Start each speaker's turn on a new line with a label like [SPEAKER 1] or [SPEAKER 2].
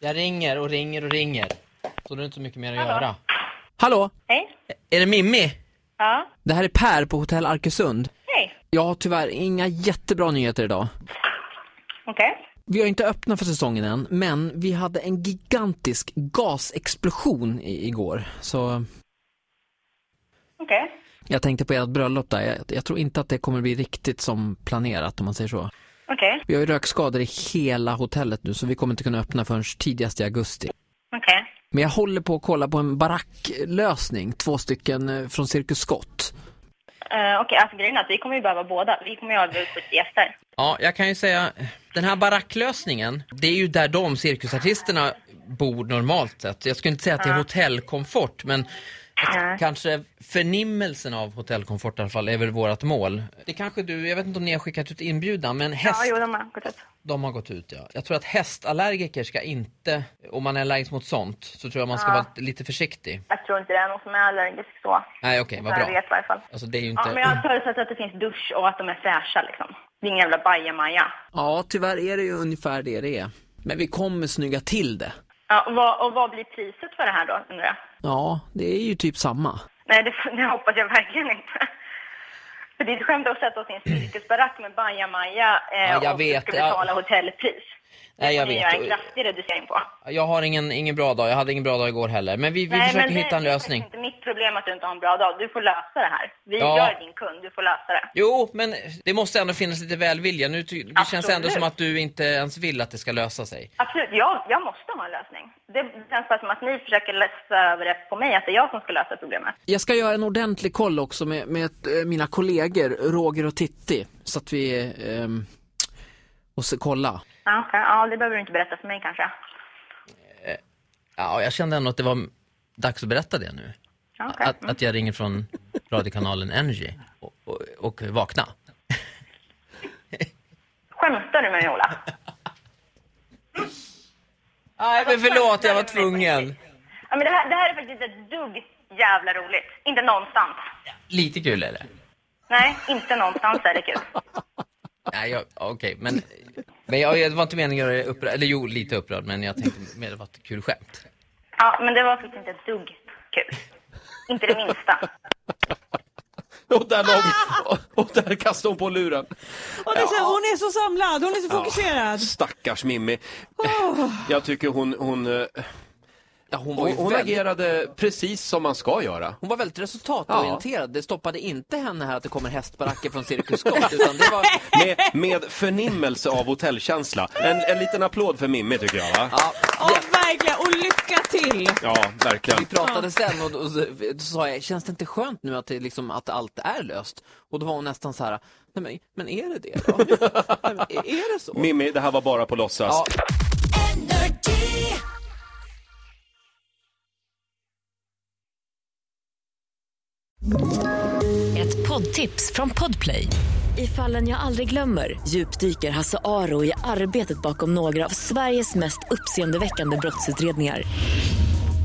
[SPEAKER 1] Jag ringer och ringer och ringer. Så det är inte så mycket mer att
[SPEAKER 2] Hallå?
[SPEAKER 1] göra.
[SPEAKER 3] Hallå!
[SPEAKER 2] Hej.
[SPEAKER 3] Är det Mimmi?
[SPEAKER 2] Ja.
[SPEAKER 3] Det här är Per på Hotell Arkesund.
[SPEAKER 2] Hej.
[SPEAKER 3] Jag har tyvärr inga jättebra nyheter idag.
[SPEAKER 2] Okej.
[SPEAKER 3] Vi har inte öppnat för säsongen än, men vi hade en gigantisk gasexplosion i- igår. Så
[SPEAKER 2] Okej.
[SPEAKER 3] jag tänkte på ert bröllop där. Jag, jag tror inte att det kommer bli riktigt som planerat om man säger så.
[SPEAKER 2] Okej.
[SPEAKER 3] Vi har ju rökskador i hela hotellet nu så vi kommer inte kunna öppna förrän tidigast i augusti.
[SPEAKER 2] Okej.
[SPEAKER 3] Men jag håller på att kolla på en baracklösning, två stycken eh, från Cirkus Scott.
[SPEAKER 2] Eh, Okej, alltså grejen är att vi kommer ju behöva båda. Vi kommer ju ha bjudit på gäster.
[SPEAKER 1] Ja, jag kan ju säga, den här baracklösningen, det är ju där de cirkusartisterna bor normalt sett. Jag skulle inte säga att det är hotellkomfort, men
[SPEAKER 2] Nej.
[SPEAKER 1] kanske förnimmelsen av hotellkomfort i alla fall är väl vårt mål. Det kanske du, jag vet inte om ni har skickat ut inbjudan, men häst,
[SPEAKER 2] Ja, jo, de har gått ut.
[SPEAKER 1] de har gått ut ja. Jag tror att hästallergiker ska inte, om man är allergisk mot sånt, så tror jag man ska
[SPEAKER 2] Ja.
[SPEAKER 1] vara lite försiktig.
[SPEAKER 2] Jag tror inte det är någon som är allergisk så.
[SPEAKER 1] Nej okej, vad
[SPEAKER 2] Jag
[SPEAKER 1] bra.
[SPEAKER 2] vet i alla fall.
[SPEAKER 1] Alltså det är ju inte...
[SPEAKER 2] Ja, men jag förutsätter att det finns dusch och att de är fräscha liksom. Det är ingen jävla bajamaja.
[SPEAKER 3] Ja, tyvärr är det ju ungefär det det är. Men vi kommer snygga till det.
[SPEAKER 2] Ja, och, vad, och vad blir priset för det här då, undrar jag?
[SPEAKER 3] Ja, det är ju typ samma.
[SPEAKER 2] Nej, det, det hoppas jag verkligen inte. För det är ett skämt att sätta oss i en cirkusbarack med bajamaja eh,
[SPEAKER 1] Ja, jag
[SPEAKER 2] och
[SPEAKER 1] vet,
[SPEAKER 2] ska
[SPEAKER 1] ja.
[SPEAKER 2] betala hotellpris.
[SPEAKER 1] Nej jag
[SPEAKER 2] Det är en
[SPEAKER 1] vet.
[SPEAKER 2] kraftig reducering på.
[SPEAKER 1] Jag har ingen, ingen bra dag, jag hade ingen bra dag igår heller. Men vi, vi försöker hitta en
[SPEAKER 2] det är
[SPEAKER 1] lösning.
[SPEAKER 2] faktiskt inte mitt problem att du inte har en bra dag. Du får lösa det här. Vi
[SPEAKER 1] Ja.
[SPEAKER 2] gör din kund, du får lösa det.
[SPEAKER 1] Jo, men det måste ändå finnas lite välvilja. Nu ty- det känns
[SPEAKER 2] Absolut.
[SPEAKER 1] ändå som att du inte ens vill att det ska lösa sig.
[SPEAKER 2] Absolut, jag, jag måste ha en lösning. Det känns bara som att ni försöker läsa över det på mig, att det är jag som ska lösa problemet.
[SPEAKER 3] Jag ska göra en ordentlig koll också med, med eh, mina kollegor Roger och Titti. Så att vi... ehm, och så kolla.
[SPEAKER 2] Ja, okej. ja, det behöver du inte berätta för mig kanske.
[SPEAKER 1] Ja, jag kände ändå att det var dags att berätta det nu.
[SPEAKER 2] Ja, okej. Mm.
[SPEAKER 1] Att, att jag ringer från radiokanalen Energy och, och, och vakna.
[SPEAKER 2] Skämtar du med mig, Ola?
[SPEAKER 1] Nej, men förlåt, jag var tvungen.
[SPEAKER 2] Ja, men det, här, det här är faktiskt ett dugg jävla roligt. Inte någonstans.
[SPEAKER 1] Lite kul är det.
[SPEAKER 2] Nej, inte någonstans är det kul.
[SPEAKER 1] Nej, jag- okej, men, men jag, jag var inte meningen att göra dig upprörd. Eller jo, lite upprörd, men jag tänkte mer att det var ett kul skämt.
[SPEAKER 2] Ja, men det var faktiskt inte ett dugg kul. Inte det minsta.
[SPEAKER 4] Och där, låg, och, och där kastade hon på luren.
[SPEAKER 5] Och det är så, här, hon är så samlad, hon är så fokuserad.
[SPEAKER 4] Stackars Mimmi. Jag tycker hon, hon, eh,
[SPEAKER 3] Ja, hon var
[SPEAKER 4] hon,
[SPEAKER 3] ju
[SPEAKER 4] hon
[SPEAKER 3] väldigt,
[SPEAKER 4] agerade precis som man ska göra.
[SPEAKER 3] hon var väldigt resultatorienterad. Det stoppade inte henne här att det kommer hästbaracker från Cirkus Scott. utan det var...
[SPEAKER 4] Med, med förnimmelse av hotellkänsla. En, en liten applåd för Mimmi tycker jag va?
[SPEAKER 3] Ja,
[SPEAKER 5] Och verkligen, och lycka till!
[SPEAKER 4] Ja, verkligen.
[SPEAKER 3] Vi pratade sen och, och så, då sa jag, känns det inte skönt nu att, det liksom, att allt är löst? Och då var hon nästan så här, nej men, men är det det då? Nej, men är- är det så?
[SPEAKER 4] Mimmi, det här var bara på låtsas.
[SPEAKER 3] Ja.
[SPEAKER 6] Energy.
[SPEAKER 7] Ett poddtips från Podplay. I fallen jag aldrig glömmer djupdyker Hasse Aro i arbetet bakom några av Sveriges mest uppseendeväckande brottsutredningar.